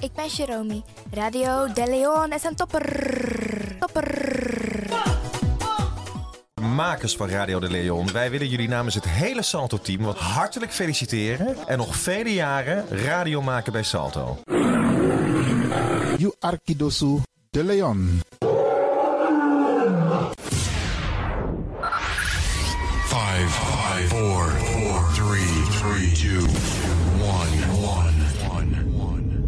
Ik ben Jerome. Radio De Leon is een topper. Topper. Makers van Radio de Leon, wij willen jullie namens het hele Salto-team wat hartelijk feliciteren. En nog vele jaren radio maken bij Salto. You Arkidosu de Leon. Five, five, four, four, three, three, two, one, one, one.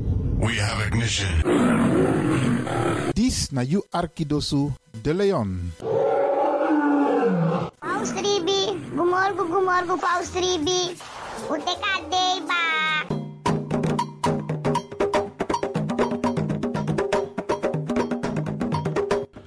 We have ignition. This na You Arkidosu de Leon. Paus 3B, gumorgo, gumorgo, Paus 3B. Uteka deba.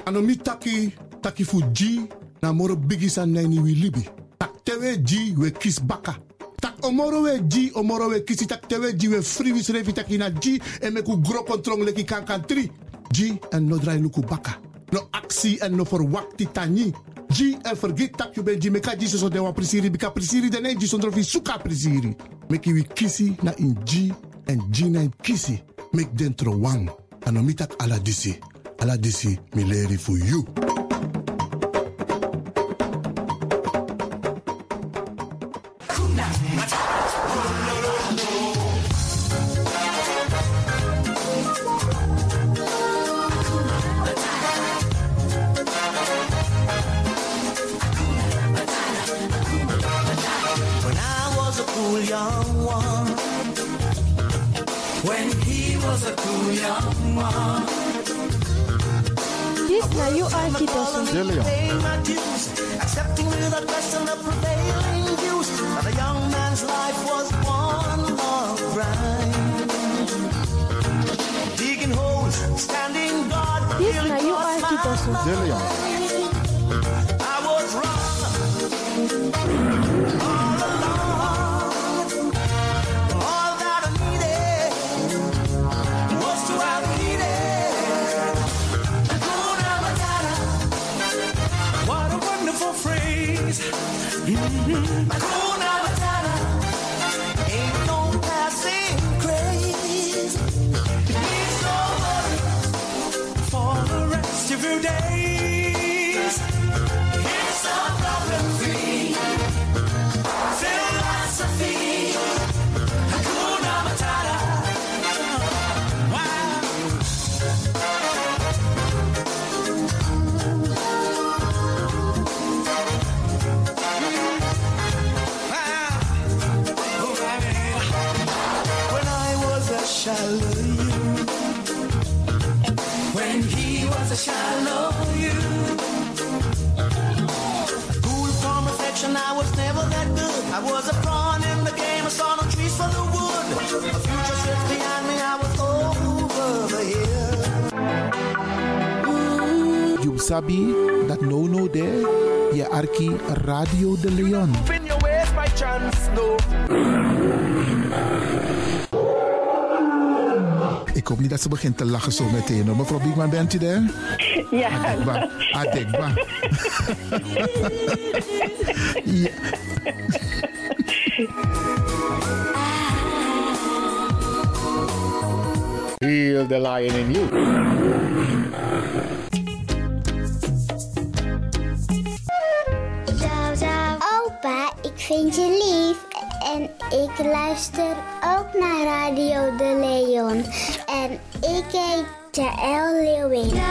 Anomi taki, taki fu G, na moro bigisa neni wi libi. Tak tewe G, we kis baka. Tak omoro we G, omoro we kisi, tak tewe G, we free wis revi taki na G, en meku gro kontrong leki kankan tri. G, en no drai luku baka. No aksi en no forwakti tani. G, en vergit tak you ben G, meka G so dewa prisiri, bika prisiri dene G, sondro fi suka prisiri. Meki wi kisi na in G, en G na in kisi. Mek dentro wang. Anomi tak ala disi. Ala disi, mi leri fu you. When I was a cool young one. When he was a cool young one. This na you Arkidosu. De Leon. Paying my dues, accepting without question the prevailing views. And a young man's life was one long grind. Digging holes, standing guard. This till it na you cost my Arkidosu. De Leon. I was wrong all along. All that I needed was to have needed. Hakuna Matata. What a wonderful phrase. Mhm. Hakuna Matata. Ain't no passing craze. It's over for the rest of your days. It's a problem-free philosophy. Hakuna Matata. Wow. Wow. Oh, baby. When I was a Shallow you, when he was a shallow you. Cool from reflection, I was never that good. I was a pawn in the game, I saw no trees for the wood. A future sits behind me, I was over the hill. You sabi dat no no there. Je Arki Radio de Leon. Spin your ways by chance, no. Ik hoop niet dat ze begint te lachen zo meteen. hoor. Mevrouw Biekman, bent u daar? Ja, Adekba. Adekba. ja. Heal the lion in you. Opa, ik vind je lief. En ik luister ook naar Radio De Leon. En ik heet Jaël Leeuwin.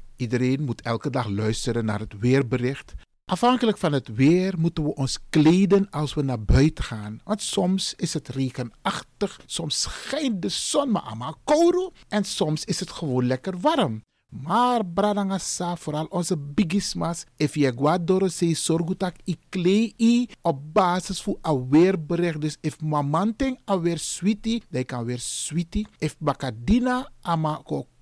Iedereen moet elke dag luisteren naar het weerbericht. Afhankelijk van het weer moeten we ons kleden als we naar buiten gaan. Want soms is het regenachtig, soms schijnt de zon maar allemaal kouro en soms is het gewoon lekker warm. Maar bradangasa, vooral onze bigismas, if je guadoro se sorgutak i klei i op basis voor aweerbericht. Dus if mamanting aweer sweetie, dan kan weer sweetie. If bakadina ama ko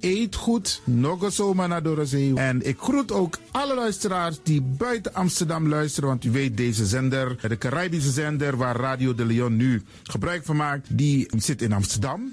eet goed. Nog eens zomaar naar Dorozee. En ik groet ook alle luisteraars die buiten Amsterdam luisteren. Want u weet, deze zender, de Caribische zender waar Radio de Leon nu gebruik van maakt, die zit in Amsterdam.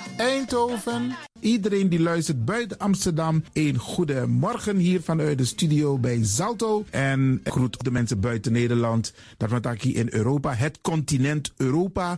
Eindhoven. Iedereen die luistert buiten Amsterdam, een goede morgen hier vanuit de studio bij Zalto. En ik groet de mensen buiten Nederland, dat we het hier in Europa, het continent Europa.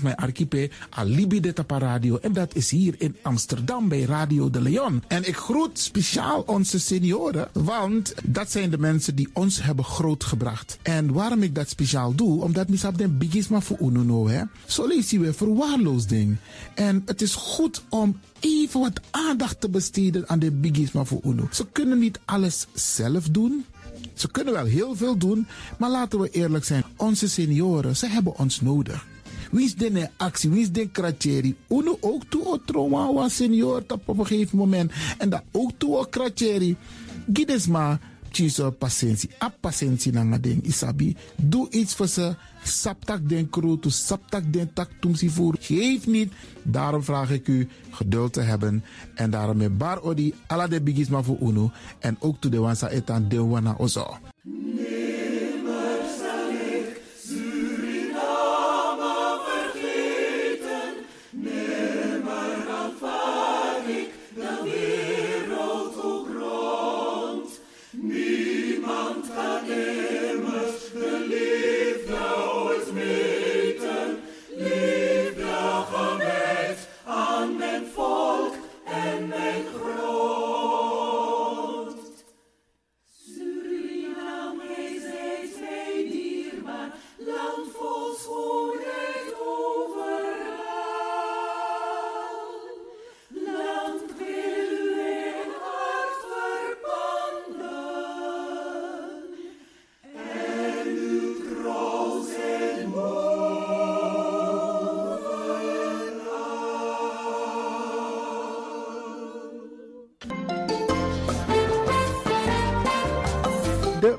mijn archipel Alibi de Tapa Radio. En dat is hier in Amsterdam bij Radio de Leon. En ik groet speciaal onze senioren, want dat zijn de mensen die ons hebben grootgebracht. En waarom ik dat speciaal doe, omdat misap den bigisma voor ununo, hè. Zo lezen we verwaarloosding. En het is goed om even wat aandacht te besteden aan de bigisma voor uno. Ze kunnen niet alles zelf doen. Ze kunnen wel heel veel doen, maar laten we eerlijk zijn. Onze senioren, ze hebben ons nodig. Wie is de actie? Wie is de kratjeri? Uno ook toe o trauma wa senior tap op een gegeven moment. En dat ook toe o kratjeri. Gides maar, tjiso patiëntie. A patiëntie nanga ding isabi. Doe iets voor ze. Saptak eh. den kroto, saptak den tak tumsi voer. Geef niet. Daarom vraag ik u geduld te hebben. En daarom met bar odi, ala de bigisma voor uno. En ook toe de wansa etan de wana ozo. De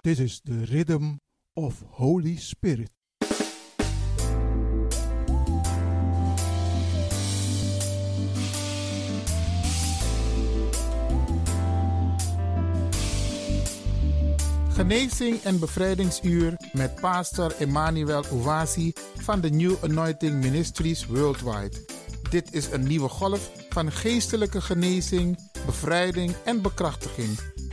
Dit is de Rhythm of Holy Spirit. Genezing en bevrijdingsuur met pastor Emmanuel Ouasi van de New Anointing Ministries Worldwide. Dit is een nieuwe golf van geestelijke genezing, bevrijding en bekrachtiging.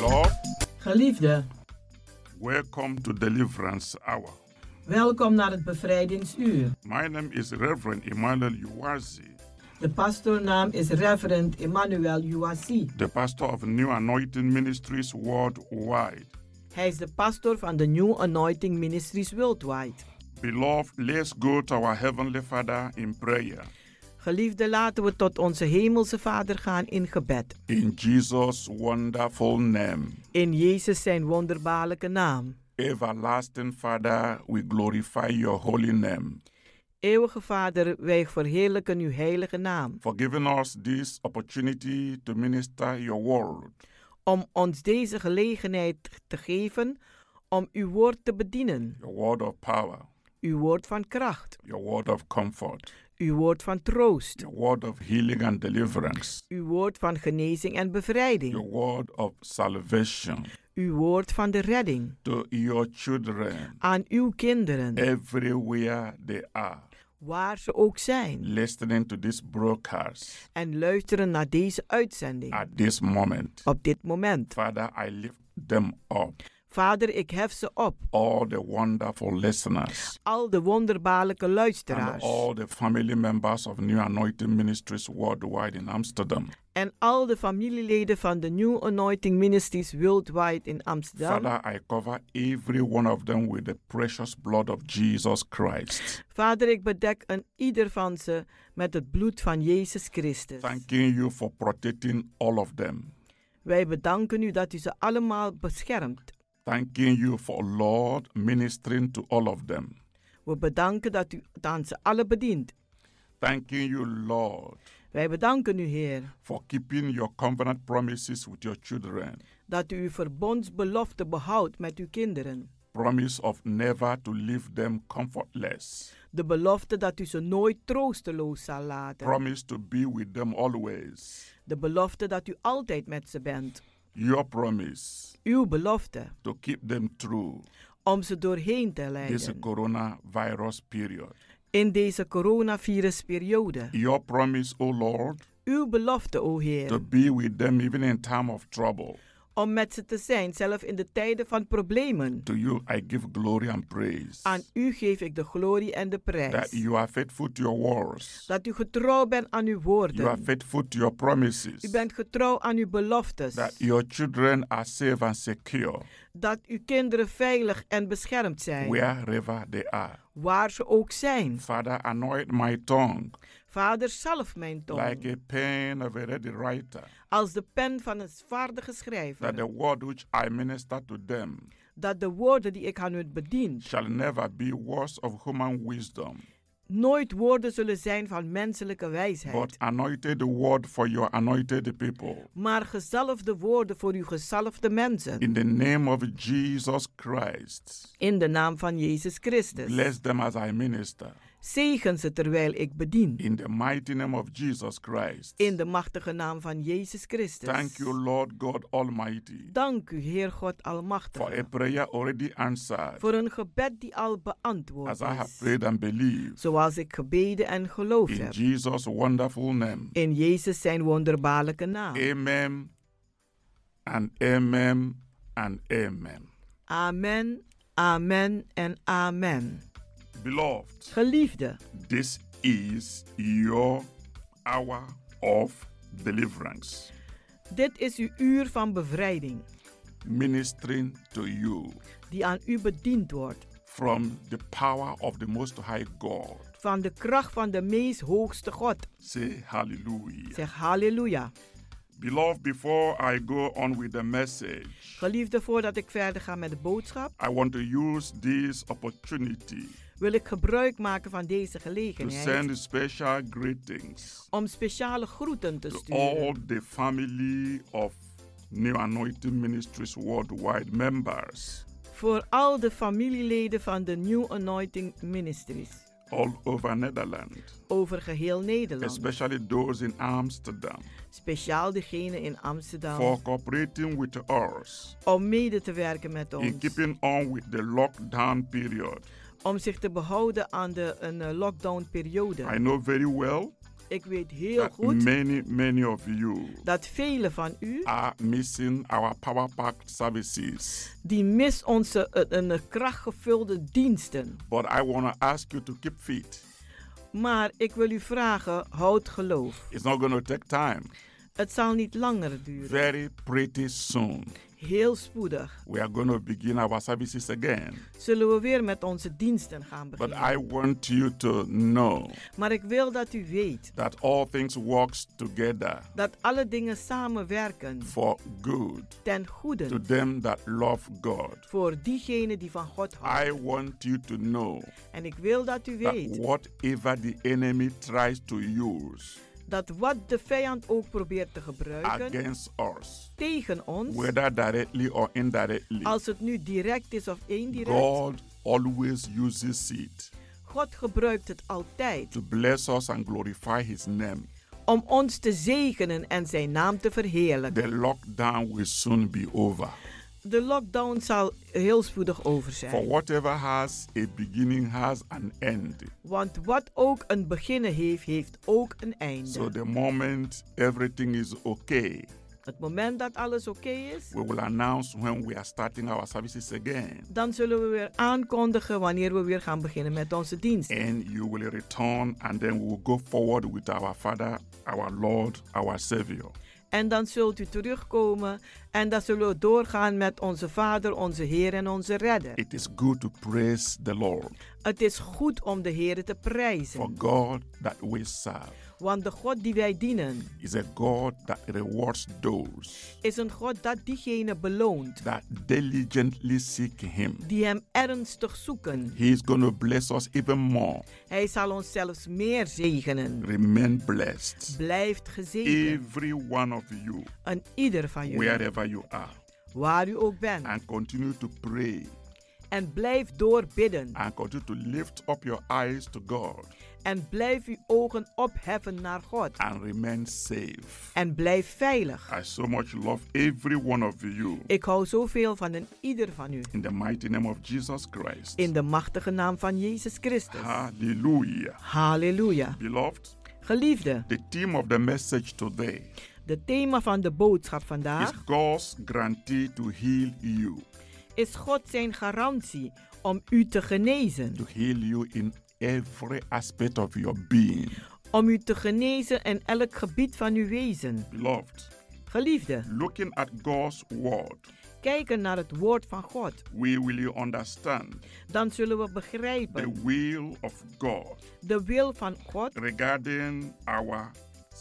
Lord, Geliefde, welcome to Deliverance Hour. welkom naar het bevrijdingsuur. My name is Reverend Emmanuel Uwazi, De pastoornaam is Reverend Emmanuel Uwasi. the pastor of New Anointing Ministries worldwide. Hij is de pastor van de New Anointing Ministries Worldwide. Beloved, let's go to our Heavenly Father in prayer. Geliefde, laten we tot onze hemelse Vader gaan in gebed. In Jesus' wonderful name, In Jezus zijn wonderbaarlijke naam. everlasting Father, we glorify your holy name Eeuwige Vader, wij verheerlijken uw heilige naam. for giving us this opportunity to minister your word. Om ons deze gelegenheid te geven om uw woord te bedienen. Your word of power, Uw woord van kracht. your word of comfort, Uw woord van troost. your word of healing and deliverance, Uw woord van genezing en bevrijding. your word of salvation Uw woord van de redding. to your children aan uw kinderen, everywhere they are waar ze ook zijn, listening to this broadcast en luisteren naar deze uitzending. at this moment. Op dit moment. Father, I lift them up, Vader, ik hef ze op, all the wonderful listeners al de wonderbaarlijke and luisteraars all the family members of New Anointing Ministries worldwide in Amsterdam. en al de familieleden van de New Anointing Ministries Worldwide in Amsterdam. Father, I cover every one of them with the precious blood of Jesus Christ. Vader, ik bedek een ieder van ze met het bloed van Jezus Christus. Thanking you for protecting all of them. Wij bedanken u dat u ze allemaal beschermt. Thanking you for Lord ministering to all of them. We bedanken dat u het aan ze allen bedient. Thanking you, Lord, Wij bedanken u, Heer, for keeping your covenant promises with your children. dat u uw verbondsbelofte behoudt met uw kinderen. Promise of never to leave them comfortless. De belofte dat u ze nooit troosteloos zal laten. Promise to be with them always. De belofte dat u altijd met ze bent. Your promise Uw belofte to keep them through om ze doorheen te this leiden coronavirus period. in deze coronavirusperiode. Your promise, O Lord, Uw belofte, to o Heer, be with them even in time of trouble. om met ze te zijn, zelf in de tijden van problemen. To you I give glory and praise. Aan u geef ik de glorie en de That prijs. you are faithful to your words. Dat u getrouw bent aan uw You are woorden. faithful to your promises. U bent getrouw aan uw beloftes. That your children are safe and secure Dat uw kinderen veilig en beschermd zijn, wherever they are. waar ze ook zijn. Father, anoint my tongue Vader, zalf mijn tong. like a pen of a ready writer, als de pen van een vaardige that the schrijver, word which I minister to them dat de woorden die ik aan u bedien shall never be words of human wisdom, nooit woorden zullen zijn van menselijke but wijsheid, anointed word for your anointed people. maar gezalfde woorden voor uw gezalfde mensen. In the name of Jesus Christ, In de naam van Jezus Christus. bless them as I minister. Zegen ze terwijl ik bedien. In the mighty name of Jesus Christ. In de machtige naam van Jezus Thank Christus. you, Lord God Almighty, Dank u, Heer God for a Almachtige, prayer already answered, voor een gebed die al beantwoord as I have is. prayed and believed. Zoals ik gebeden en geloofd In heb. Jesus' wonderful name. In Jezus zijn wonderbaarlijke naam. Amen and amen and amen. Amen, amen en amen. Beloved, Geliefde, this is your hour of deliverance, dit is uw uur van bevrijding, ministering to you die aan u bediend wordt from the power of the Most High God van de kracht van de meest hoogste God. Say hallelujah. Zeg halleluja. Beloved, before I go on with the message, Geliefde, voordat ik verder ga met de boodschap, I want to use this opportunity wil ik gebruik maken van deze to send gelegenheid special greetings om speciale groeten te to sturen all the family of New Anointing Ministries worldwide members voor al de familieleden van de New Anointing Ministries all over Netherlands, over geheel Nederland, especially those in Amsterdam, speciaal degenen in Amsterdam, for cooperating with us om mede te werken met ons, in keeping on with the lockdown period. om zich te behouden aan de een eh, I lockdown-periode. know very well Ik weet heel that goed many, many of you dat velen van u are missing our Power Pack services. die mis onze eh, een krachtgevulde diensten. But I want to ask you to keep fit. Maar ik wil u vragen, houd geloof. It's not going to take time. Het zal niet langer duren. Very pretty soon, Heel spoedig we are going to begin our services again. zullen we weer met onze diensten gaan But beginnen. I want you to know Maar ik wil dat u weet that all things works together dat alle dingen samenwerken for good ten to goede them that love God. voor diegenen die van God houden. I want you to know En ik wil dat u that weet whatever the enemy tries to use dat wat de vijand ook probeert te gebruiken against us, tegen ons, whether directly or indirectly, als het nu direct is of indirect, God always uses it God gebruikt het altijd to bless us and glorify His name. om ons te zegenen en zijn naam te The verheerlijken. lockdown will soon be over. De lockdown zal heel spoedig For over zijn. whatever has a beginning has an end. Want wat ook een beginnen heeft, heeft ook een So einde. the moment everything is okay, Het moment dat alles oké is, we will announce when we are starting our services again. dan zullen we weer aankondigen wanneer we weer gaan beginnen met onze dienst. And you will return, and then we will go forward with our Father, our Lord, our Savior. En dan zult u terugkomen en dan zullen we doorgaan met onze Vader, onze Heer en onze Redder. It is good to praise the Lord Het is goed om de Heer te for prijzen, God that we serve. want de God die wij dienen is a God that rewards those is een God dat diegene beloont that diligently seek Him. die Hem ernstig zoeken. He is going to bless us even more. Hij zal ons zelfs meer zegenen. Remain blessed. Blijft gezegend, Every one of you, aan ieder van jullie, wherever you are, waar u ook bent. and continue to pray En blijf doorbidden. and continue to lift up your eyes to God En blijf uw ogen opheffen naar God. and remain safe. En blijf veilig. I so much love every one of you Ik hou zoveel van een ieder van u. in the mighty name of Jesus Christ. In de machtige naam van Jezus Christus. Hallelujah. Halleluja. Beloved, Geliefde, the theme of the message today het thema van de boodschap is vandaag God's guarantee to heal you, is God zijn garantie om u te genezen. to heal you in every aspect of your being. Om u te genezen in elk gebied van uw wezen. Beloved, Geliefde, looking at God's word, kijken naar het woord van God. we will understand Dan zullen we the begrijpen will of God de wil van God regarding our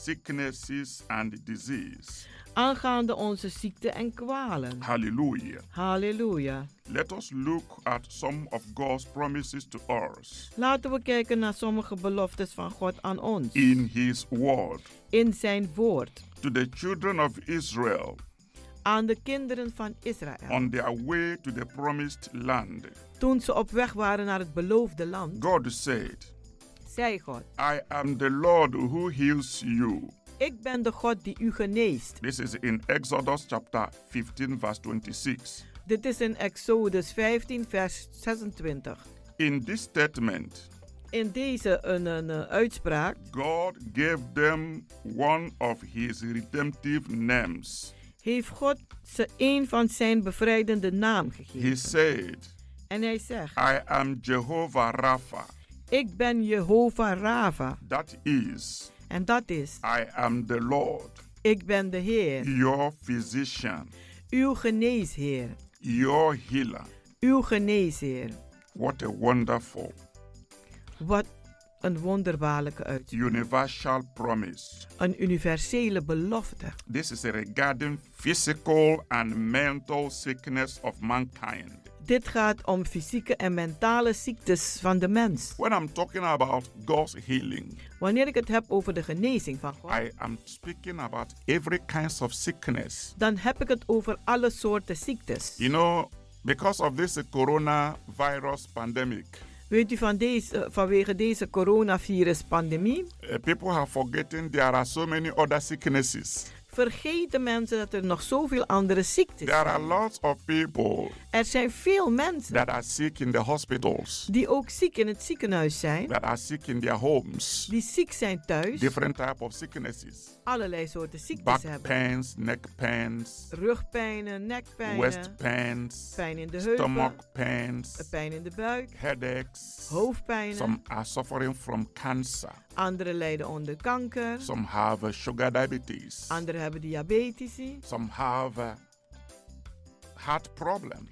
sicknesses and disease. aangaande onze ziekte en kwalen. Hallelujah. Halleluja. Let us look at some of God's promises to us Laten we kijken naar sommige beloftes van God aan ons. in His word. In zijn woord. To the children of Israel Aan de kinderen van Israël. on their way to the promised land, Toen ze op weg waren naar het beloofde land, God said, zei God: I am the Lord who heals you. Ik ben de God die u geneest. This is in Exodus chapter 15, verse 26. Dit is in Exodus 15, vers 26. In this statement, In deze een, een, eh, uitspraak God gave them one of his redemptive names. heeft God ze een van zijn bevrijdende naam gegeven. He said, En hij zegt: I am Jehovah Rapha. Ik ben Jehovah Rava. That is, En dat is: I am the Lord, Ik ben de Heer, your physician, uw geneesheer, your healer. uw geneesheer. What a wonderful Wat een wonderbaarlijke uitzicht. Universal promise. Een universele belofte. This is regarding physical and mental sickness of mankind. Dit gaat om fysieke en mentale ziektes van de mens. When I'm talking about God's healing, Wanneer ik het heb over de genezing van God, I am speaking about every kinds of sickness. dan heb ik het over alle soorten ziektes. You know, because of this coronavirus pandemic, Weet u, van deze, vanwege deze coronavirus-pandemie uh, people have forgotten there are so many other sicknesses. vergeten mensen dat er nog zoveel andere ziektes There are zijn. lots of people Er zijn veel mensen that are sick in the hospitals, die ook ziek in het ziekenhuis zijn, that are sick in their homes. die ziek zijn thuis, Different type of sicknesses. allerlei soorten ziektes Back hebben. pains, neck pains, Rugpijnen, nekpijnen, waist pains, pijn in de heupen, stomach pains, pijn in de buik, headaches. hoofdpijnen. Some are suffering from cancer. Anderen lijden onder kanker, Some have uh, sugar diabetes. anderen hebben diabetici, Some have uh, heart problem.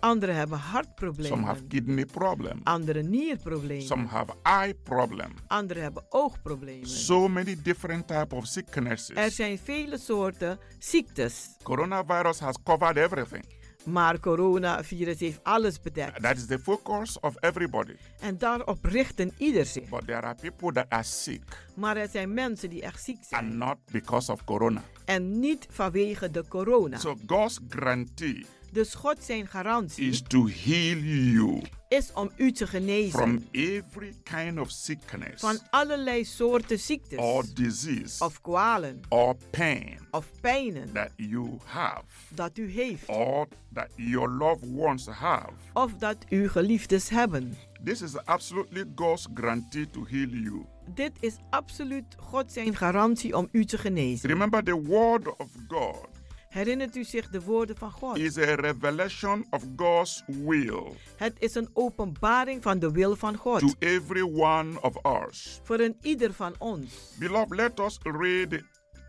anderen hebben Some have hartproblemen, kidney problem. anderen nierproblemen, Some have eye problem. anderen hebben oogproblemen. So many different type of Er sicknesses. zijn vele soorten ziektes. Coronavirus has covered everything. Maar coronavirus heeft alles bedekt. That is the focus of everybody. En daarop richten ieder zich. But there are people that are sick Maar er zijn mensen die echt ziek zijn. and not because of corona. En niet vanwege de corona. So God's guarantee Dus God zijn garantie is to heal you is om u te genezen. from every kind of sickness Van allerlei soorten or ziektes. disease Of kwalen. or pain Of pijnen. that you have Dat u heeft. or that your loved ones have. Of dat uw geliefdes hebben. This is absolutely God's guarantee to heal you. Dit is absoluut God zijn garantie om u te genezen. Remember, the word of God Herinnert u zich de woorden van God? is a revelation of God's will Het is een openbaring van de wil van God. to every one of us. Voor een ieder van ons. Beloved, let us read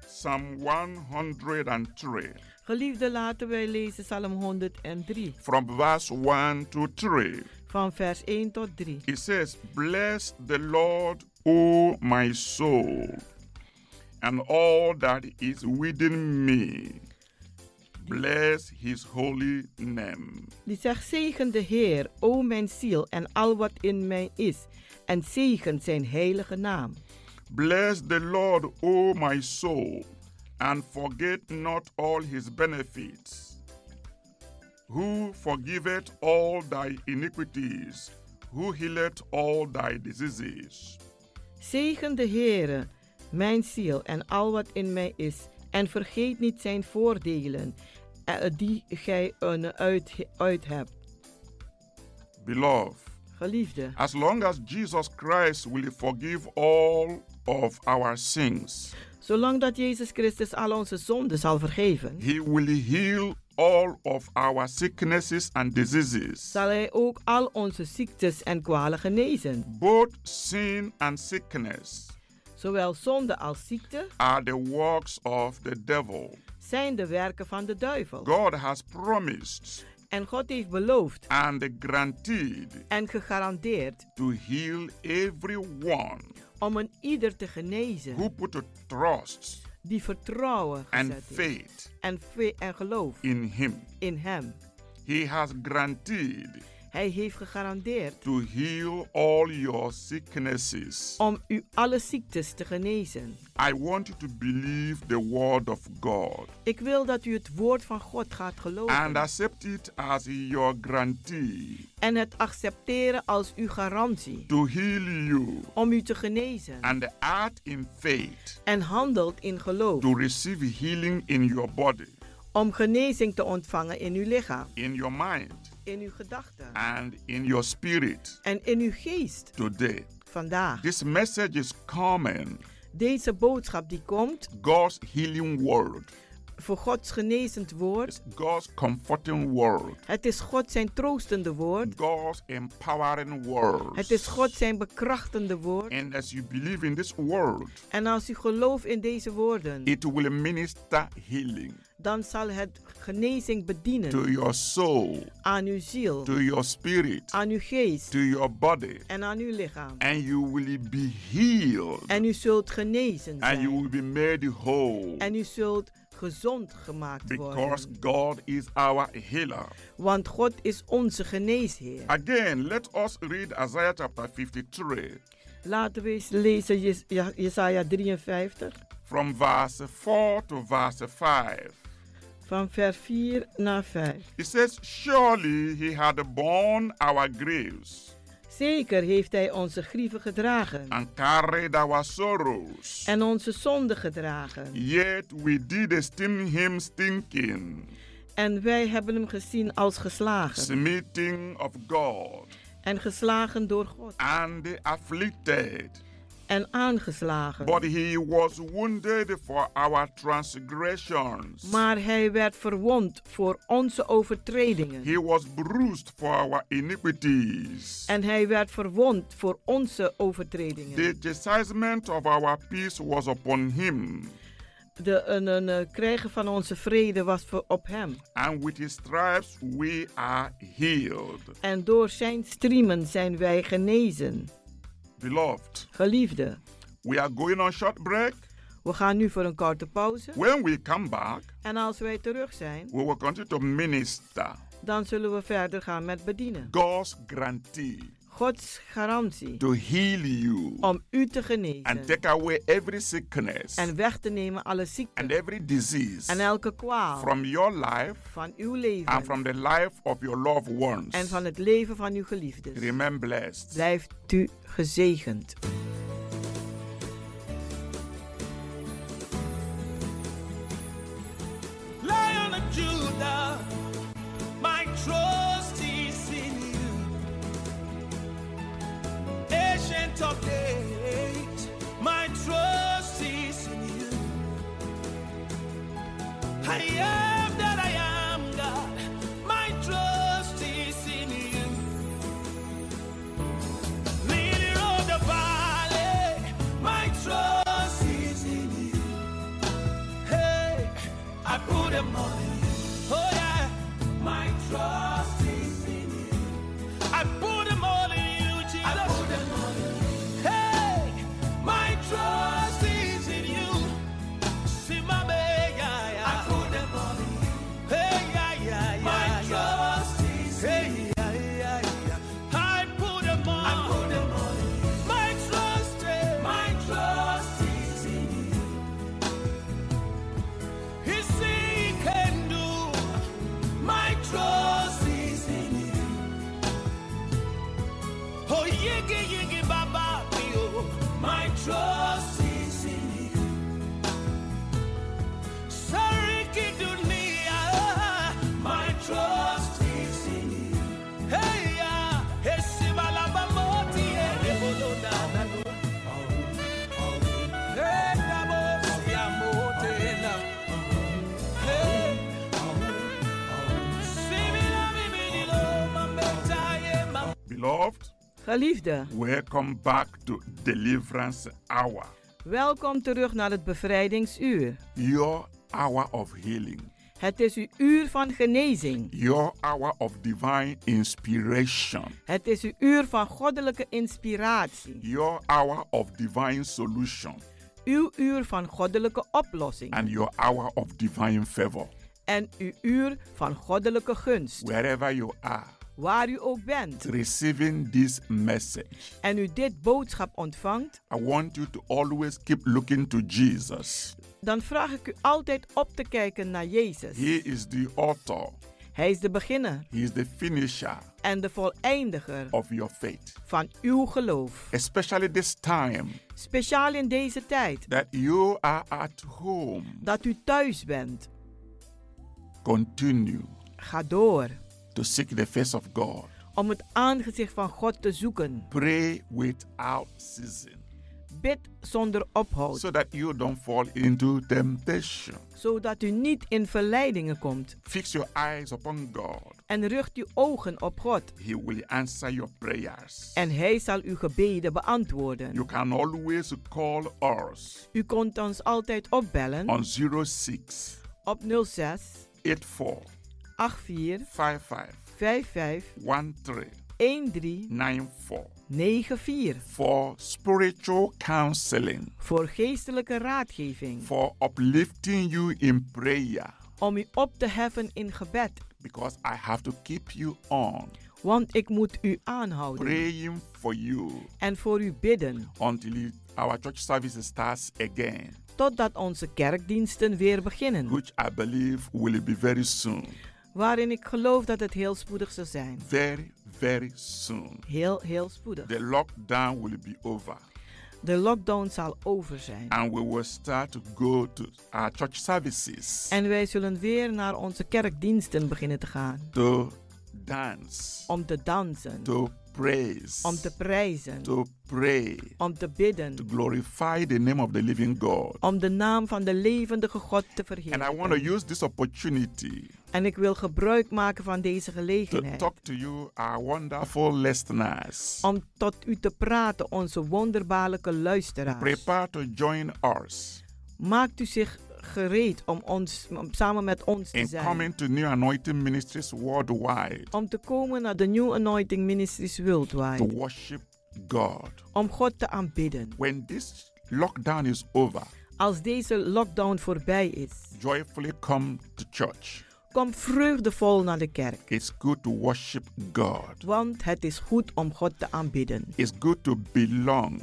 Psalm 103 Geliefde, laten wij lezen Psalm 103, from verse 1 to 3. van vers 1 tot 3. It says, Bless the Lord, O my soul, and all that is within me. Bless his holy name. Die zegt, zegen de Heer, o mijn ziel en al wat in mij is, en zegen zijn heilige naam. Bless the Lord, O my soul, and forget not all his benefits. Who forgiveth all thy iniquities, who healeth all thy diseases. Zegen de Heer, mijn ziel en al wat in mij is, en vergeet niet zijn voordelen, eh, die gij een uit, uit hebt. Beloved, Geliefde, As long as Jesus Christ will forgive all of our sins, zolang dat Jezus Christus al onze zonden zal vergeven, He will heal all of our sicknesses and diseases. zal hij ook al onze ziektes en kwalen genezen. Both sin and sickness Zowel zonde als ziekte are the works of the devil. zijn de werken van de duivel. God has promised En God heeft beloofd and guaranteed en gegarandeerd to heal everyone om een ieder te genezen who put a trust die vertrouwen and gezet heeft faith en, ve- en geloof in Him. in Hem. He has guaranteed Hij heeft gegarandeerd to heal all your sicknesses. om u alle ziektes te genezen. I want you to believe the word of God Ik wil dat u het woord van God gaat geloven and accept it as your guarantee en het accepteren als uw garantie to heal you om u te genezen. and act in faith En handelt in geloof to receive healing in your body, om genezing te ontvangen in uw lichaam, in your mind, in uw gedachten and in your spirit en in uw geest today. vandaag. This message is coming Deze boodschap die komt, God's healing word voor Gods genezend woord. God's comforting word. Het is God zijn troostende woord. God's empowering word. Het is God zijn bekrachtende woord. And as you believe in this word, En als u gelooft in deze woorden, it will minister healing dan zal het genezing bedienen to your soul, aan uw ziel, to your spirit, aan uw geest to your body, en aan uw lichaam. and you will be healed. En u zult genezen and you will zijn. be made whole. En u zult gezond gemaakt Because worden. God is our healer. Want God is onze geneesheer. Again, let us read Isaiah chapter 53 Laten we eens lezen Jes- Ja- Jesaja 53, from verse 4 to verse 5. van vers 4 naar 5. It says, Surely he had borne our griefs Zeker heeft hij onze grieven gedragen and carried our sorrows, en onze zonden gedragen. yet we did esteem him stinking, En wij hebben hem gezien als geslagen smiting of God, en geslagen door God and afflicted. en aangeslagen. But he was wounded for our transgressions. Maar hij werd verwond voor onze overtredingen He was bruised for our iniquities. en hij werd verwond voor onze overtredingen. The chastisement of our peace was upon him, De een, een, eh, krijgen van onze vrede was voor op hem. and with his stripes we are healed. En door zijn striemen zijn wij genezen. Beloved, Geliefde, we are going on short break. we gaan nu voor een korte pauze. When we come back, En als wij terug zijn, we will continue to minister dan zullen we verder gaan met bedienen. God's grantee Gods garantie to heal you om u te and genezen take away every sickness en weg te nemen alle ziekte and every disease en elke kwaal from your life van uw and leven from the life of your loved ones. en van het leven van uw geliefden. Remain blessed. Blijft u gezegend. Lion of Judah, my trust is in you. Ancient of days, my trust is in you. I am that I am, God, my trust is in you. Leader of the valley, my trust is in you. Hey, I put them on you. Oh yeah, my trust is in you. I put them all in you, Jesus. I put them all in you. Hey, my trust is in you. See my baby, yeah, yeah. I put them all in you. Hey, yeah, yeah, yeah. My trust is hey, in you. Yeah, yeah, yeah. I put them all. I put them all in you. My trust, eh, my trust is in you. He see can do. My trust is in Him. Oh yigi yigi baba yo. My trust is in Him. Sorry kidunia. My trust is in Him. Hey ya, esibala bamoti e bolona. Hey, namo, siamote na. Beloved, Geliefde, welcome back to Deliverance Hour, welkom terug naar het bevrijdingsuur. your hour of healing, Het is uw uur van genezing. your hour of divine inspiration, Het is uw uur van goddelijke inspiratie. your hour of divine solution, Uw uur van goddelijke oplossing. and your hour of divine favor. En uw uur van goddelijke gunst. Wherever you are, Waar u ook bent receiving this message, en u dit boodschap ontvangt, I want you to always keep looking to Jesus. dan vraag ik u altijd op te kijken naar Jezus. He is the author, Hij is de beginner He is the finisher en de voleindiger of your faith. van uw geloof. Especially this time Speciaal in deze tijd that you are at home, dat u thuis bent. continue Ga door to seek the face of God. om het aangezicht van God te zoeken. Pray without ceasing. Bid zonder ophoud. so that you don't fall into temptation. zodat u niet in verleidingen komt. Fix your eyes upon God. En richt uw ogen op God. He will answer your prayers. En Hij zal uw gebeden beantwoorden. You can always call us U kunt ons altijd opbellen on 06 op 06 84 84 55 55 13 13 94 94 for spiritual counseling, voor geestelijke raadgeving. for uplifting you in prayer, Om u op te heffen in gebed. because I have to keep you on Want ik moet u aanhouden praying for you en voor u bidden. until you- our church service starts again, Totdat onze kerkdiensten weer beginnen. which I believe will be very soon. Waarin ik geloof dat het heel spoedig zal zijn. Very, very soon. Heel, heel spoedig. The lockdown will be over. De lockdown zal over zijn. and we will start to go to our church services En wij zullen weer naar onze kerkdiensten beginnen te gaan. to dance, Om te dansen. to praise, Om te prijzen. to pray, Om te bidden. to glorify the name of the living God. Om de naam van de levendige God te And I want to verheerlijken. use this opportunity En ik wil gebruik maken van deze to gelegenheid. talk to you, our wonderful listeners. Om tot u te praten, onze wonderbaarlijke luisteraars. Prepare to join us Maakt u zich gereed om, ons, om samen met ons te in coming zijn. to New Anointing Ministries worldwide Om te komen naar de New Anointing Ministries to Worldwide. worship God. Om God te aanbidden. When this lockdown is over, Als deze lockdown voorbij is, joyfully come to church. kom vreugdevol naar de kerk. It's good to worship God. Want het is goed om God te aanbidden. It's good to belong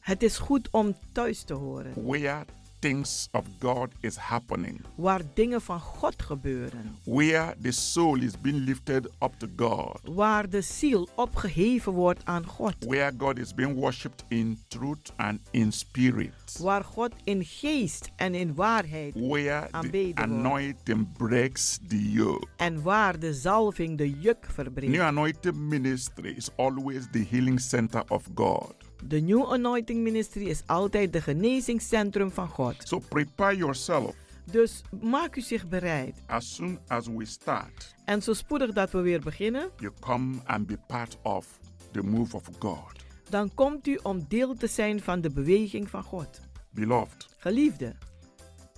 Het is goed om thuis te horen, where things of God is happening, waar dingen van God gebeuren. where the soul is being lifted up to God, Waar de ziel opgeheven wordt aan God. where God is being worshipped in truth and in spirit, Waar God in geest en in waarheid where the aanbeden wordt. anointing breaks the yoke. En waar de zalving de juk New verbreekt. anointing ministry is always the healing center of God. De New Anointing Ministry is altijd de genezingscentrum van God. So prepare yourself Dus maak u zich bereid. as soon as we start. En zo spoedig dat we weer beginnen, You come and be part of the move of God. dan komt u om deel te zijn van de beweging van God. Beloved, Geliefde,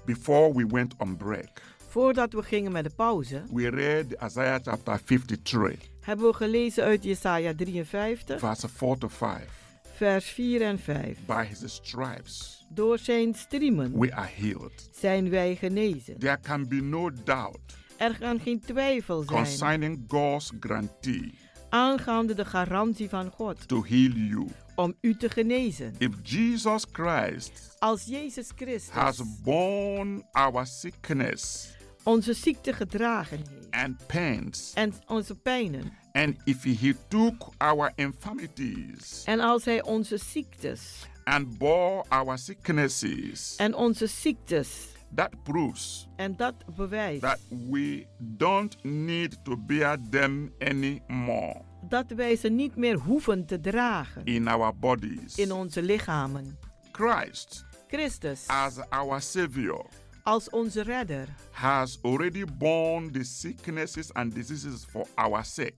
before we went on break, voordat we gingen met de pauze, we read Isaiah chapter 53, hebben we gelezen uit Jesaja 53, verse 4 to 5. vers 4 en 5. By his stripes Door zijn striemen we are healed. zijn wij genezen. There can be no doubt Er kan geen twijfel zijn concerning God's guarantee aangaande de garantie van God to heal you. om u te genezen. If Jesus Christ Als Jezus has Christus borne our sickness onze ziekte gedragen heeft and pains, en onze pijnen, and if he took our infirmities en als Hij onze ziektes and bore our sicknesses, en onze ziektes, that proves en dat bewijst that we don't need to bear them anymore dat wij ze niet meer hoeven te dragen in our bodies. in onze lichamen. Christ, Christus as our Savior, als onze redder has already borne the sicknesses and diseases for our sake.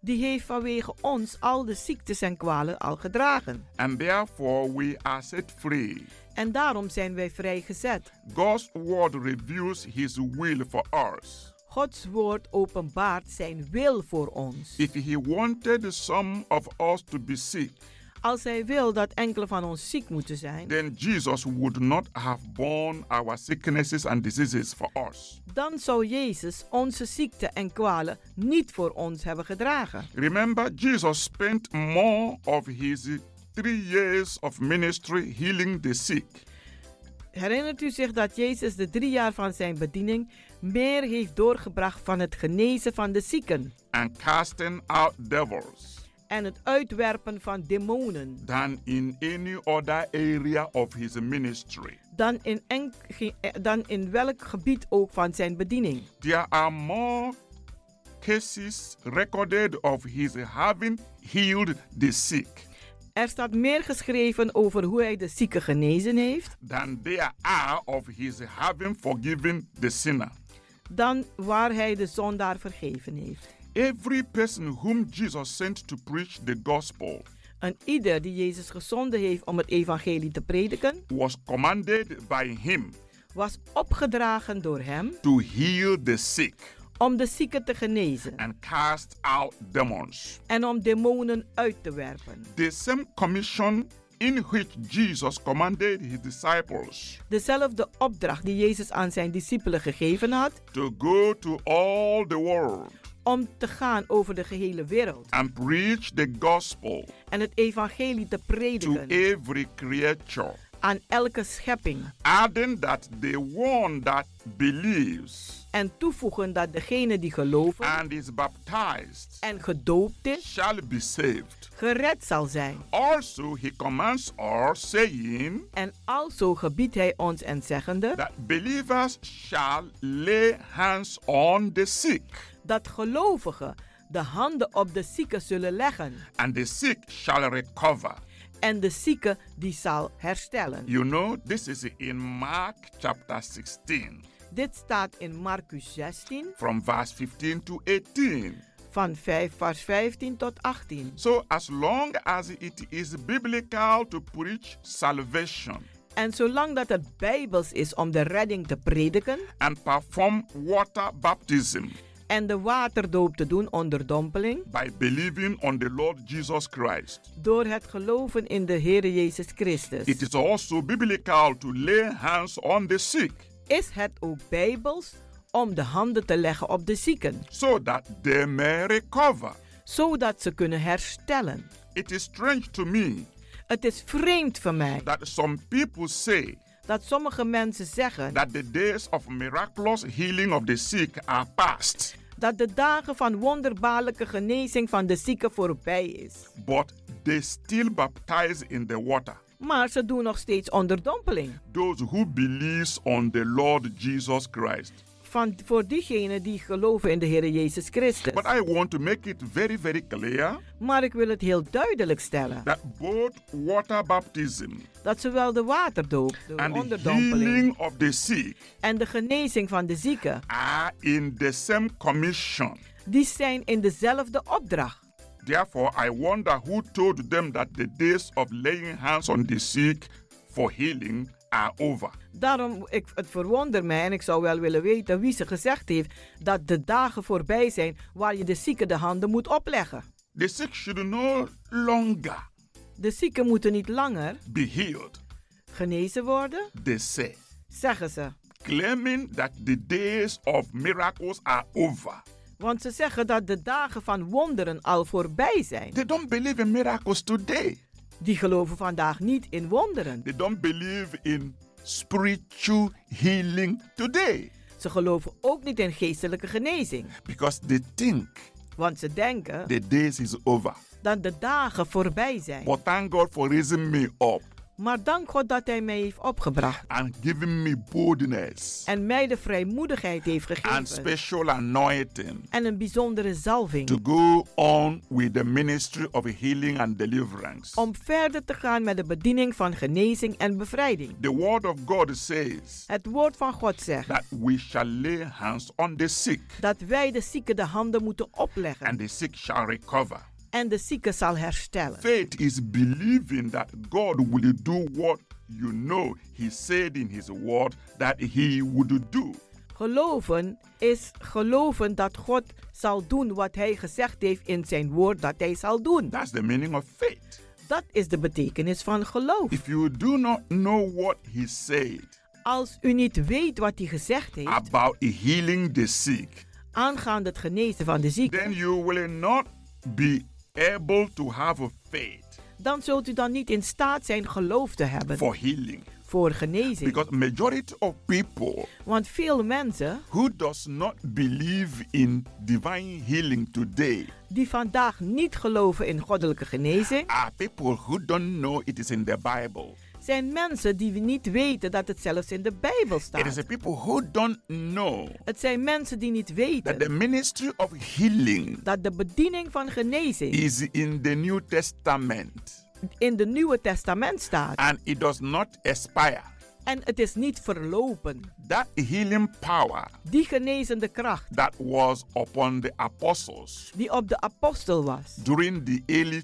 die heeft vanwege ons al de ziektes en kwalen al gedragen. And therefore, we are set free. En daarom zijn wij vrijgezet. God's word reveals His will for us. Gods woord openbaart zijn wil voor ons. If He wanted some of us to be sick, Als hij wil dat enkele van ons ziek moeten zijn, then Jesus would not have borne our sicknesses and diseases for us. dan zou Jezus onze ziekte en kwalen niet voor ons hebben gedragen. Remember, Jesus spent more of his three years of ministry healing the sick. Herinnert u zich dat Jezus de drie jaar van zijn bediening meer heeft doorgebracht van het genezen van de zieken and casting out devils en het uitwerpen van demonen? than in any other area of his ministry. dan in, enk- ge- eh, dan in welk gebied ook van zijn bediening. There are more cases recorded of his having healed the sick Er staat meer geschreven over hoe hij de zieke genezen heeft than there are of his having forgiven the sinner. dan waar hij de zondaar vergeven heeft. Every person whom Jesus sent to preach the gospel En ieder die Jezus gezonden heeft om het evangelie te prediken, was commanded by him was opgedragen door hem to heal the sick om de zieken te genezen and cast out demons. en om demonen uit te werpen. The same commission in which Jesus commanded his disciples Dezelfde opdracht die Jezus aan zijn discipelen gegeven had to go to all the world om te gaan over de gehele wereld and preach the gospel en het evangelie te to prediken every creature, aan elke schepping adding that the one that believes en toevoegen dat degene die geloven and is baptized en gedoopt is, shall be saved. gered zal zijn. Also, he commands us, saying En alzo gebiedt hij ons en zeggende that believers shall lay hands on the sick, dat gelovigen de handen op de zieken zullen leggen and the sick shall recover. en de zieke die zal herstellen. You know, this is in Mark chapter 16, Dit staat in Marcus 16 from verse 15 to 18. van 5 vers 15 tot 18. So, as long as it is biblical to preach salvation En zolang dat het bijbels is om de redding te prediken and perform water baptism en de waterdoop te doen onder dompeling, by believing on the Lord Jesus Christ, door het geloven in de Heer Jezus Christus, it is also biblical to lay hands on the sick is het ook bijbels om de handen te leggen op de zieken, so that they may recover. zodat ze kunnen herstellen. It is strange to me Het is vreemd voor mij that some people say dat sommige mensen zeggen that the days of miraculous healing of the sick are past, dat de dagen van wonderbaarlijke genezing van de zieken voorbij is. but they still baptize in the water. Maar ze doen nog steeds onderdompeling. Those who believes on the Lord Jesus Christ. Van, voor diegenen die geloven in de Heer Jezus Christus. But I want to make it very, very clear Maar ik wil het heel duidelijk stellen that both water baptism dat zowel de waterdoop, de and the onderdompeling healing of the sick en de genezing van de zieken, are in the same commission. die zijn in dezelfde opdracht. Therefore, I wonder who told them that the days of laying hands on the sick for healing are over. Daarom, ik, het verwonder mij en ik zou wel willen weten wie ze gezegd heeft dat de dagen voorbij zijn waar je de zieken de handen moet opleggen. The sick should no longer De zieken moeten niet langer be healed, genezen worden, they say, zeggen ze. claiming that the days of miracles are over. Want ze zeggen dat de dagen van wonderen al voorbij zijn. They don't believe in miracles today. Die geloven vandaag niet in wonderen. They don't believe in spiritual healing today Ze geloven ook niet in geestelijke genezing. because they think Want ze denken the days is over. dat de dagen voorbij zijn. But thank God for raising me up Maar dank God dat Hij mij heeft opgebracht. and giving me boldness En mij de vrijmoedigheid heeft and gegeven. special anointing En een bijzondere to zalving. go on with the ministry of healing and deliverance. Om verder te gaan met de bediening van genezing en bevrijding. The word of God says Het woord van God zegt that we shall lay hands on the sick dat wij de zieken de handen moeten opleggen. and the sick shall recover. En de zieke zal herstellen. Faith is believing that God will do what you know He said in His word that He would do. Geloven is geloven dat God zal doen wat Hij gezegd heeft in Zijn woord dat Hij zal doen. That's the meaning of faith. Dat is de betekenis van geloof. If you do not know what He said Als u niet weet wat Hij gezegd heeft about healing the sick, aangaande het genezen van de then zieken, you will not be able to have a faith dan zult u dan niet in staat zijn geloof te hebben for healing. voor genezing. Because majority of people Want veel mensen who does not believe in divine healing today die vandaag niet geloven in goddelijke genezing, are people who don't know it is in the Bible. zijn mensen die niet weten dat het zelfs in de Bijbel It is staat. the people who don't know Het zijn mensen die niet that the weten ministry of healing dat de bediening van genezing is in the New Testament. in de Nieuwe Testament staat. and it does not expire. En het is niet verlopen. That healing power Die genezende kracht that was upon the apostles die op de apostel was during the early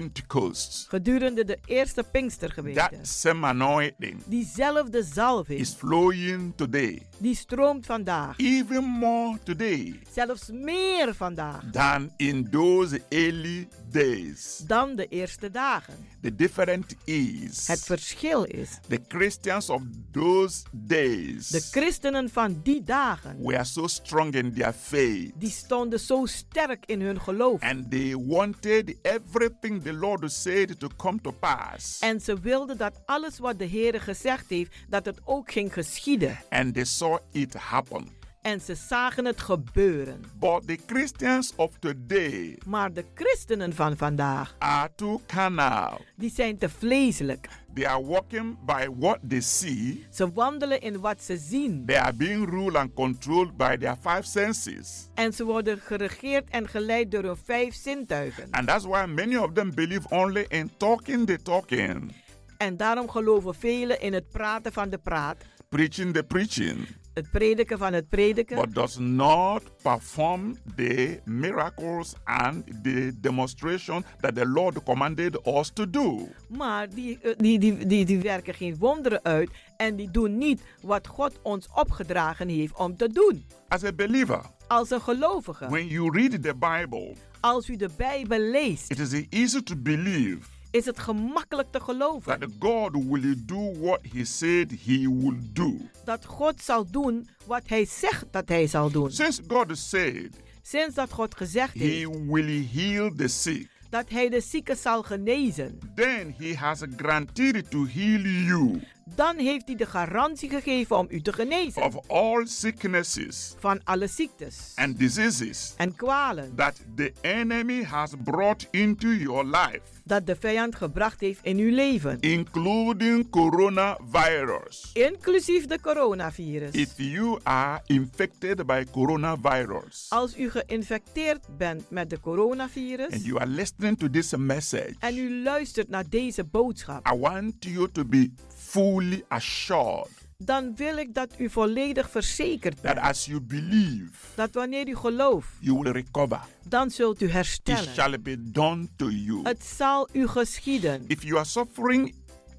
Pentecost, gedurende de eerste Pinkstergemeente. that same anointing Diezelfde is zalving flowing today, die stroomt vandaag. even more today Zelfs meer vandaag than in those early days. dan de eerste dagen. The difference is Het verschil is, the Christians of those de days christenen van die dagen, were so strong in their faith die stonden zo sterk in hun geloof. and they wanted everything the Lord said to come to pass. En ze wilden dat alles wat de Heer gezegd heeft, dat het ook ging geschieden. and they saw it happen. En ze zagen het gebeuren. But the Christians of today Maar de christenen van vandaag, are too carnal. die zijn te vleeselijk. They are walking by what they see. Ze wandelen in wat ze zien. They are being ruled and controlled by their five senses. En ze worden geregeerd en geleid door hun vijf zintuigen. And that's why many of them believe only in talking the talking, En daarom geloven velen in het praten van de praat, preaching the preaching, het prediken van het prediken, but does not perform the miracles and the demonstration that the Lord commanded us to do. maar die, eh, die, die, die, die werken geen wonderen uit en die doen niet wat God ons opgedragen heeft om te doen. As a believer, Als een gelovige, when you read the Bible, als u de Bijbel leest, it is easy to believe is het gemakkelijk te geloven that God will do what He said He will do. dat God zal doen wat Hij zegt dat Hij zal doen. Since God said Sinds dat God gezegd He heeft will heal the sick, dat Hij de zieke zal genezen, then He has guaranteed to heal you dan heeft Hij de garantie gegeven om u te genezen of all sicknesses van alle ziektes and diseases en kwalen. that the enemy has brought into your life, dat de vijand gebracht heeft in uw leven. including coronavirus. Inclusief de coronavirus. If you are infected by coronavirus Als u geïnfecteerd bent met de and coronavirus you are listening to this message, en u luistert naar deze boodschap, I want you to be fully assured dan wil ik dat u volledig verzekerd that bent as you believe, dat wanneer u gelooft, you will recover. dan zult u It herstellen. shall be done to you. Het zal u geschieden. If you are suffering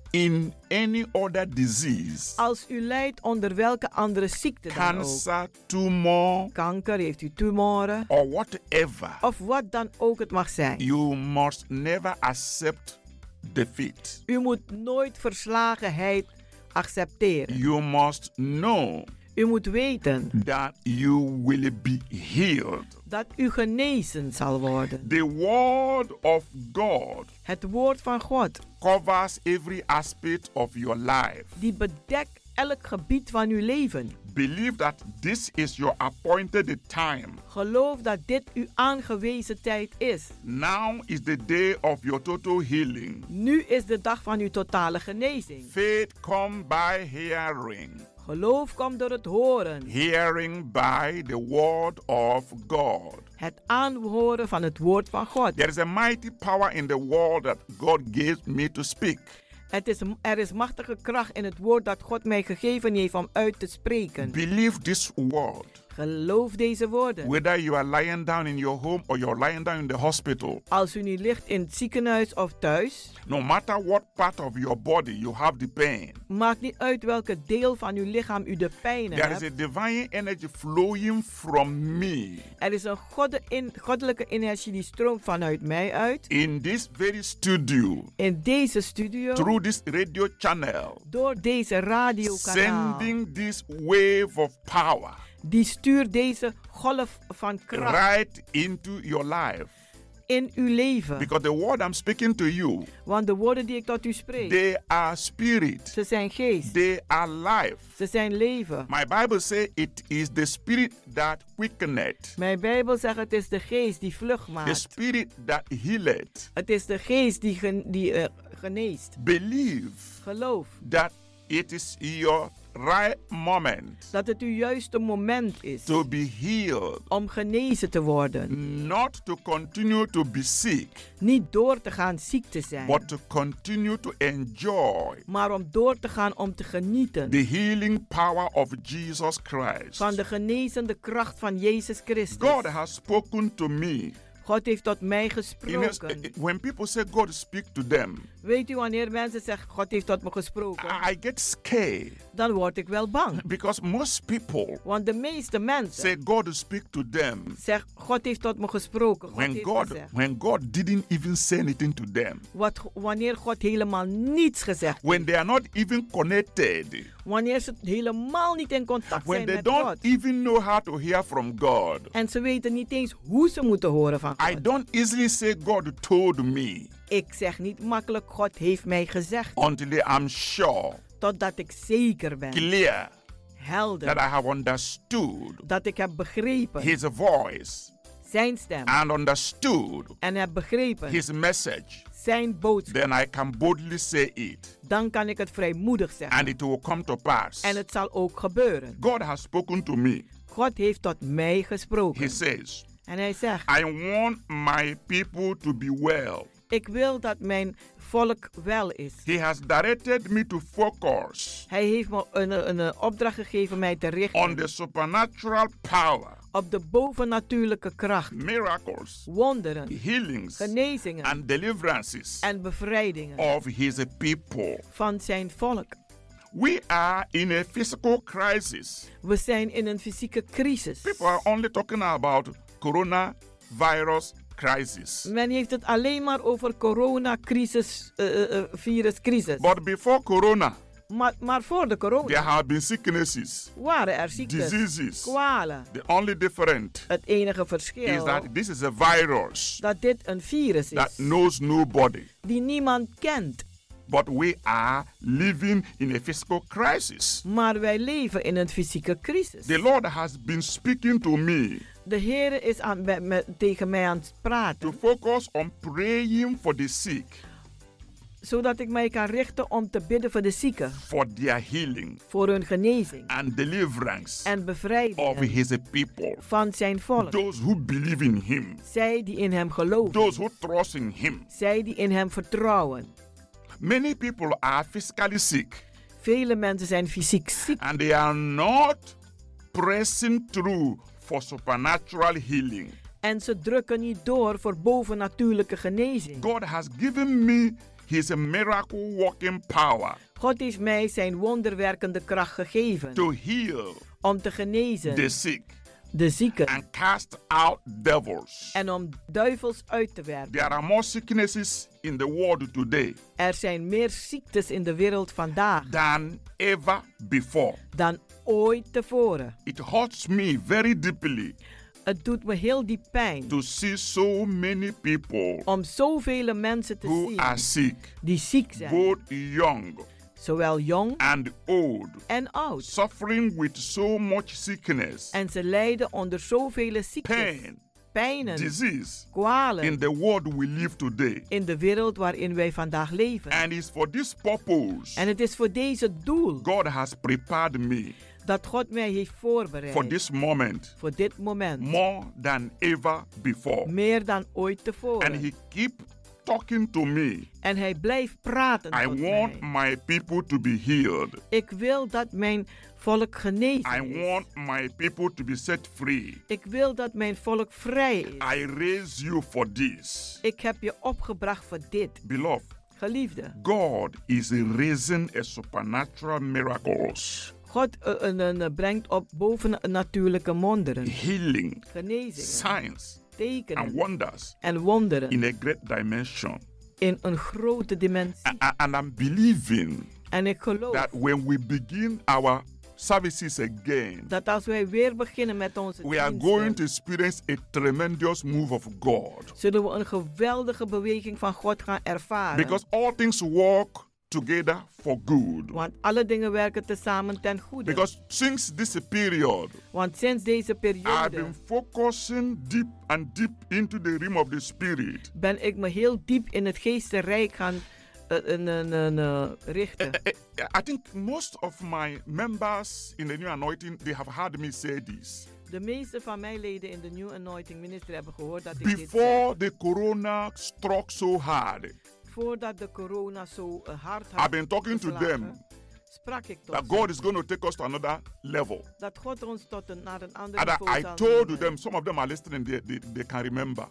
in any other disease, Als u lijdt onder welke andere ziekte dan ook, cancer, tumor, kanker, heeft u tumoren, or whatever, of wat dan ook het mag zijn. you must never accept defeat. U moet nooit verslagenheid accepteren. You must know U moet weten that you will be healed. dat u genezen zal worden. The word of God Het woord van God, covers every aspect of your life. die bedekt elk gebied van uw leven. Believe that this is your appointed time. Geloof dat dit uw aangewezen tijd is. Now is the day of your total healing. Nu is de dag van uw totale genezing. Faith come by hearing, Geloof komt door het horen, hearing by the word of God. het aanhoren van het woord van God. There is a mighty power in the word that God gave me to speak. Het is, er is machtige kracht in het woord dat God mij gegeven heeft om uit te spreken. Believe this word. Geloof deze woorden. Whether you are lying down in your home or you're lying down in the hospital, Als u nu ligt in het ziekenhuis of thuis, no matter what part of your body you have the pain, maakt niet uit welke deel van uw lichaam u de pijn there is hebt. a divine energy flowing from me Er is een godde- in- goddelijke energie die stroomt vanuit mij uit. in this very studio, In deze studio. through this radio channel, Door deze radiokanaal. sending this wave of power Die stuurt deze golf van kracht right into your life. in uw leven. Because the word I'm speaking to you, Want de woorden die ik tot u spreek. they are spirit, ze zijn geest. they are life. ze zijn leven. My Bible says it is the spirit that quickeneth, Mijn Bijbel zegt het is de geest die vlug the maakt. spirit that healeth. Het is de geest die, gen- die eh, geneest. Believe Geloof that it is your right moment dat het uw juiste moment is to be healed, om genezen te worden. not to continue to be sick, Niet door te gaan ziek te zijn, but to continue to enjoy maar om door te gaan om te genieten the healing power of Jesus Christ. van de genezende kracht van Jezus Christus. God has spoken to me. God heeft tot mij In a- gesproken. when people say God speak to them, Weet u wanneer mensen zeggen God heeft tot me gesproken, I get scared dan word ik wel bang. because most people Want de meeste mensen say God speak to them zeggen God heeft tot me gesproken. God when heeft God gezegd. when God didn't even say anything to them. Wat, wanneer God helemaal niets gezegd When they are not even connected, Wanneer ze helemaal niet in contact when zijn they met don't God. even know how to hear from God. En ze weten niet eens hoe ze moeten horen van I don't easily say God told me Ik zeg niet makkelijk, God heeft mij gezegd. until I'm sure, Totdat ik zeker ben, clear that I helder, have understood dat ik heb begrepen His voice zijn stem. and understood En heb begrepen His message. zijn boodschap. Then I can boldly say it, Dan kan ik het vrijmoedig zeggen. and it will come to pass. En het zal ook gebeuren. God has spoken to me. God heeft tot mij He gesproken. says, En hij zegt, I want my people to be well. ik wil dat mijn volk wel is. He has directed me to focus Hij heeft me een, een, een opdracht gegeven mij te on richten the supernatural power, op de bovennatuurlijke kracht, miracles, wonderen, healings, genezingen and deliverances en bevrijdingen of His people. van zijn volk. We are in a physical crisis. We zijn in een fysieke crisis. People are only talking about coronavirus crisis. Men heeft het alleen maar over coronacrisis, eh, eh, eh, viruscrisis. But before corona, Maar, maar voor de there corona have been sicknesses, waren er ziektes, diseases. kwalen. The only different Het enige is verschil that this is a virus dat dit een virus that is knows nobody. die niemand kent. But we are living in a physical crisis. Maar wij leven in een fysieke crisis. The Lord has been speaking to me De Heer is aan, met- met- tegen mij aan het praten, to focus on praying for the sick, zodat ik mij kan richten om te bidden voor de zieken, for their healing voor hun genezing and deliverance en of bevrijding His people. van zijn volk. Those who believe in Him, Zij die in Hem geloven, those who trust in Him. zij die in Hem vertrouwen. Many people are physically sick Vele mensen zijn fysiek ziek and they are not pressing through for supernatural healing. en ze drukken niet door voor bovennatuurlijke genezing. God has given me His miracle working power God heeft mij zijn wonderwerkende kracht gegeven to heal om te the genezen sick de zieken and cast out devils. en om duivels uit te werken. There are more sicknesses in the world today Er zijn meer ziektes in de wereld vandaag than ever before. dan ooit tevoren. It hurts me very deeply Het doet me heel diep pijn to see so many people om zoveel mensen te who are zien sick, die ziek zijn, both young zowel jong and old, en oud. suffering with so much sickness, En ze lijden onder zoveel ziektes, pain, pijnen, disease in kwalen the world we live today. in de wereld waarin wij vandaag leven. And it's for this purpose En het is voor deze doel God has prepared me dat God mij heeft for voorbereid this moment voor dit moment, more than ever before. meer dan ooit And He tevoren. keep talking to me. En hij blijft praten I tot want mij. my people to be healed. Ik wil dat mijn volk I genezen is. want my people to be set free. Ik wil dat mijn volk vrij is. I raise you for this. Ik heb je opgebracht voor dit, Beloved, geliefde. God is raising a supernatural miracles, God eh, eh, eh, eh, brengt op bovennatuurlijke wonderen, healing, genezingen, signs, and tekenen wonders en wonderen in a great dimension. in een grote dimensie. A- a- And I'm believing En ik geloof that when we begin our services again, dat als wij weer beginnen met onze we are going to diensten, experience a tremendous move of God. zullen we een geweldige beweging van God gaan ervaren. Because all things work together for good. Want alle dingen werken tezamen ten goede. Because since this period, Want sinds deze I've periode been focusing deep and deep into the realm of the spirit. ben ik me heel diep in het geestenrijk gaan eh, een, een, een, eh, richten? I think most of my members in the new anointing, they have heard me say this. De meeste van mijn leden in de New Anointing Ministry hebben gehoord dat ik dit zei. Before the corona struck so hard, Voordat de corona zo eh, hard had I've been talking to geslagen, them sprak ik tot that ze God is going to take us to another level. dat God ons tot een, naar een ander And I, niveau I zal told nemen. them, some of them are listening, they, they, they can remember.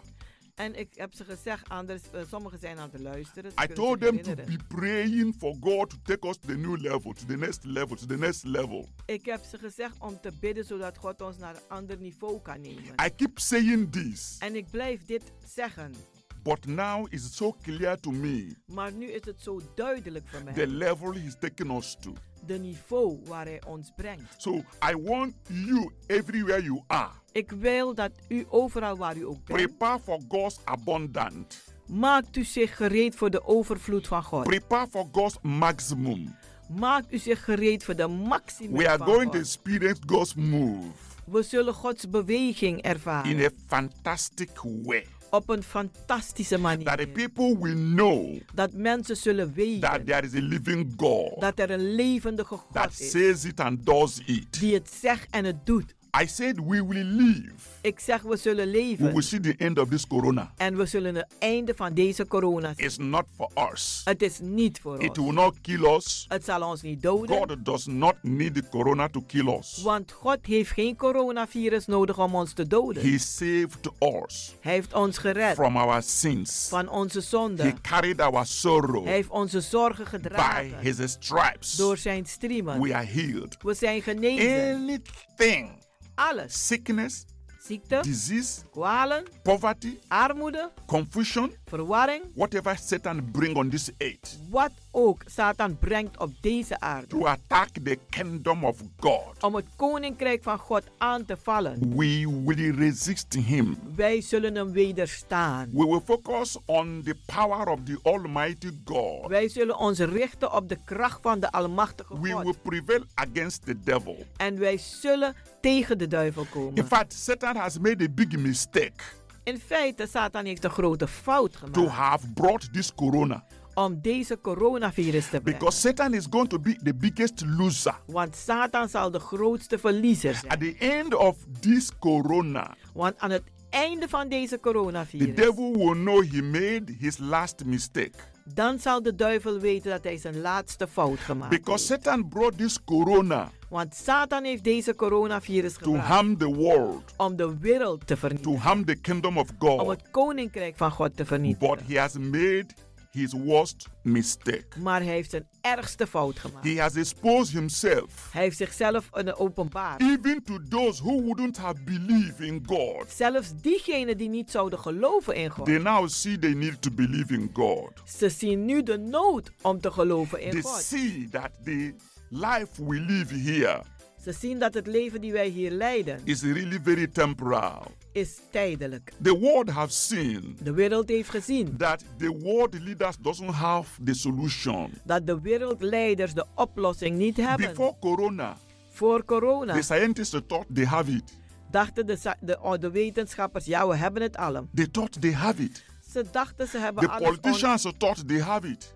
En ik heb ze gezegd, anders, eh, sommigen zijn aan het luisteren. ze I kunnen zich told them to herinneren. be praying for God to take us to the new level, to the next level, to the next level. Ik heb ze gezegd om te bidden zodat God ons naar een ander niveau kan nemen. I keep saying this, En ik blijf dit zeggen, but now it's so clear to me maar nu is het zo duidelijk voor mij. the level He's taking us to. de niveau waar hij ons brengt. So I want you, everywhere you are, Ik wil dat u overal waar u ook bent, prepare for God's abundant. maakt u zich gereed voor de overvloed van God. Prepare for God's maximum. Maakt u zich gereed voor de maximum We are van going to God. experience God's move We zullen Gods beweging in ervaren a fantastic way op een fantastische that the manier. people will know Dat mensen zullen weten that there is a living God dat er een levendige that God is says it and does it. die het zegt en het doet. I said we will live. Ik zeg we zullen We will leven see the end of this corona. en we zullen het einde van deze corona zien. It's not for us. Het is niet voor It ons. will not kill us. Het zal ons niet doden. God does not need the corona to kill us. Want God heeft geen coronavirus nodig om ons te doden. He saved us Hij heeft ons gered from our sins. van onze He zonden. carried our Hij sorrow. heeft onze zorgen By gedragen. his stripes, Door zijn striemen. we are healed. We zijn genezen. Anything, Alles. sickness, Ziekte, disease, kwalen, poverty, armoede, confusion, verwarring. whatever Satan bring on this earth Wat ook Satan brengt op deze aarde. to attack the kingdom of God, Om het koninkrijk van God aan te vallen. we will resist him. Wij zullen hem wederstaan. We will focus on the power of the Almighty God. Wij zullen ons richten op de kracht van de Almachtige We God. will prevail against the devil. En wij zullen tegen de duivel In komen. fact, Satan has made a big mistake In feite, Satan heeft een grote fout to gemaakt have brought this corona om deze coronavirus te brengen. because Satan is going to be the biggest loser. Want Satan zal de grootste verliezer At zijn. the end of this corona, Want aan het einde van deze the coronavirus, devil will know he made his last mistake dan zal de duivel weten dat hij zijn laatste fout gemaakt because heeft. Satan brought this corona Want Satan heeft deze coronavirus to gebruikt harm the world, om de wereld te to vernietigen. harm the kingdom of Om God. het koninkrijk van God te But vernietigen. he has made his worst mistake. Maar hij heeft zijn ergste fout gemaakt. He has exposed himself Hij heeft zichzelf een openbaar. even to those who wouldn't have believed in God. Zelfs diegenen die niet zouden geloven in God. They now see they need to believe in God. Ze zien nu de nood om te geloven in They God. see that the life we live here Ze zien dat het leven die wij hier leiden is really very temporal. is tijdelijk. The world have seen De wereld heeft gezien that the world leaders doesn't have the solution. dat de wereldleiders de oplossing niet hebben. Before corona, Voor corona the scientists thought they have it. dachten de, sa- de, oh, de wetenschappers, ja we hebben het allemaal. They thought they have it. Ze dachten ze hebben The alles. on- politicians thought they have it.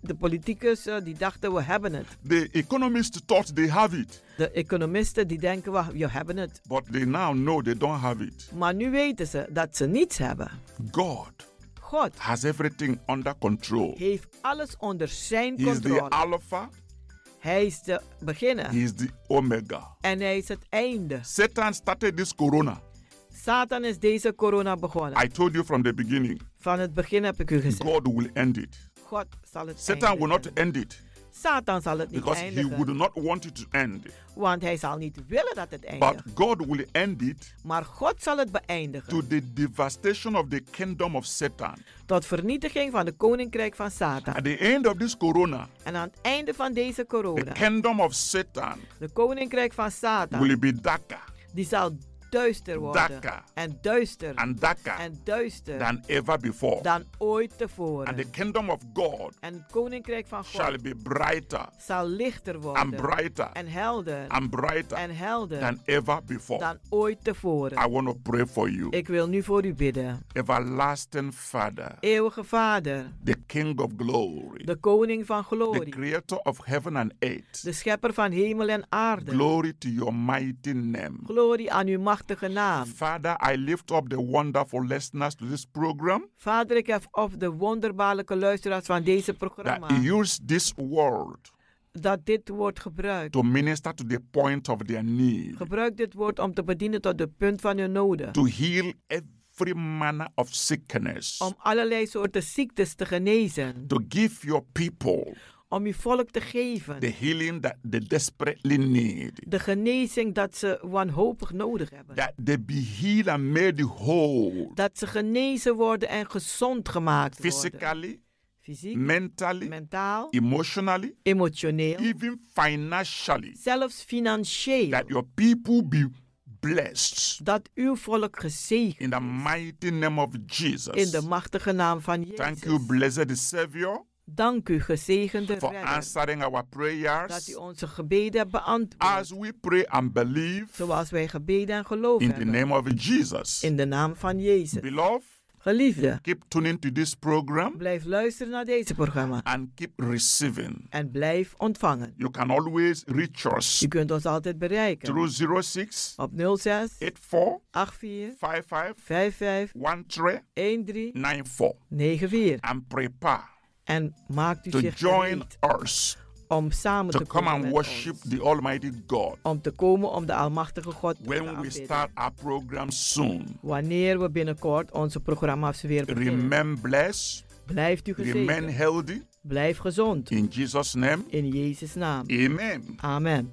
De politicus eh, die dachten we hebben het. The economists thought they have it. De economisten die denken we we hebben het. But they now know they don't have it. Maar nu weten ze dat ze niets hebben. God God has everything under control. heeft alles onder zijn He is the controle. Alpha, Hij is de beginner He is the Omega. en hij is het einde. Satan started this corona. Satan is deze corona begonnen. I told you from the beginning, Van het begin heb ik u gezegd. God will end it. God zal het Satan will eindigen. not end it Satan zal het niet because he would eindigen. not want it to end. Want hij zal niet willen dat het eindigt. But God will end it Maar God zal het to beëindigen. the devastation of the kingdom of Satan. Tot vernietiging van het koninkrijk van Satan. At the end of this corona, En aan het einde van deze the corona. kingdom of Satan De koninkrijk van will Satan. be darker, Die zal duister worden. Darker. En duister. and darker En duister. than ever before. dan ooit tevoren. And the kingdom of God en het koninkrijk van God shall be brighter zal lichter worden. and brighter en helder. and brighter en helder. than ever before. dan ooit tevoren. I want to pray for you. Ik wil nu voor u bidden. Everlasting Father, Eeuwige Vader, the King of glory, de koning van the glorie, creator of heaven and earth, de schepper van hemel en aarde. glory to your mighty name. Glorie aan uw machtige naam. Father, I lift up the wonderful listeners to this program Vader, ik heb op de wonderbaarlijke luisteraars van deze that programma use this word dat dit wordt gebruikt. to minister to the point of their need, Gebruik dit woord om te bedienen tot de punt van uw noden. to heal every manner of sickness, Om allerlei soorten ziektes te genezen. to give your people Om uw volk te geven. the healing that they desperately need, De genezing dat ze wanhopig nodig hebben. that they be healed and made whole Dat ze genezen worden en gezond gemaakt worden. physically, Fysiek, mentally, mentaal, emotionally, emotioneel, even financially, zelfs financieel. that your people be blessed Dat uw volk gezegend in the mighty name of Jesus. in de machtige naam van Thank you, Jezus. blessed Savior, Dank u, gezegende for redder, answering our dat u prayers onze gebeden beantwoordt. as we pray and believe Zoals wij gebeden en geloof in the hebben. name of Jesus. In de naam van Jezus. Beloved, Geliefde, keep tuning to this program blijf luisteren naar deze programma and keep receiving. en blijf ontvangen. You can always reach us U kunt ons altijd bereiken through 06 op 06 84 84 55 55 13 13 94 94. and prepare En maakt u to zich join gereed us om samen to te come komen and met worship ons. the Almighty God Om te komen om de Almachtige God te when we aanbidden. start our program soon. Wanneer we binnenkort onze programma's weer beginnen. Remain blessed, Blijft u remain gezegend. healthy Blijf gezond. in Jesus' name. In Jezus' naam. Amen. Amen.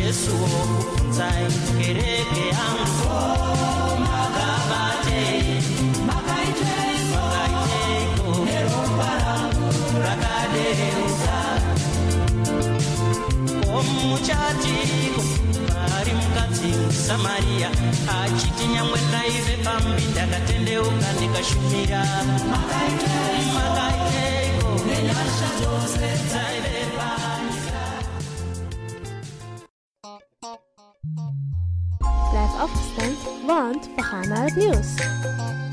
Yesu kufunzai kereke yangu makabate makaiteko rakadeuza omuchatiko vari mukadzi musamariya achiti nyamwe ndaive pambi ndakatendeuka ndikashumira makaiteko nenyasha dzose dzaive panyika Blijf afgestemd, want we gaan naar het nieuws.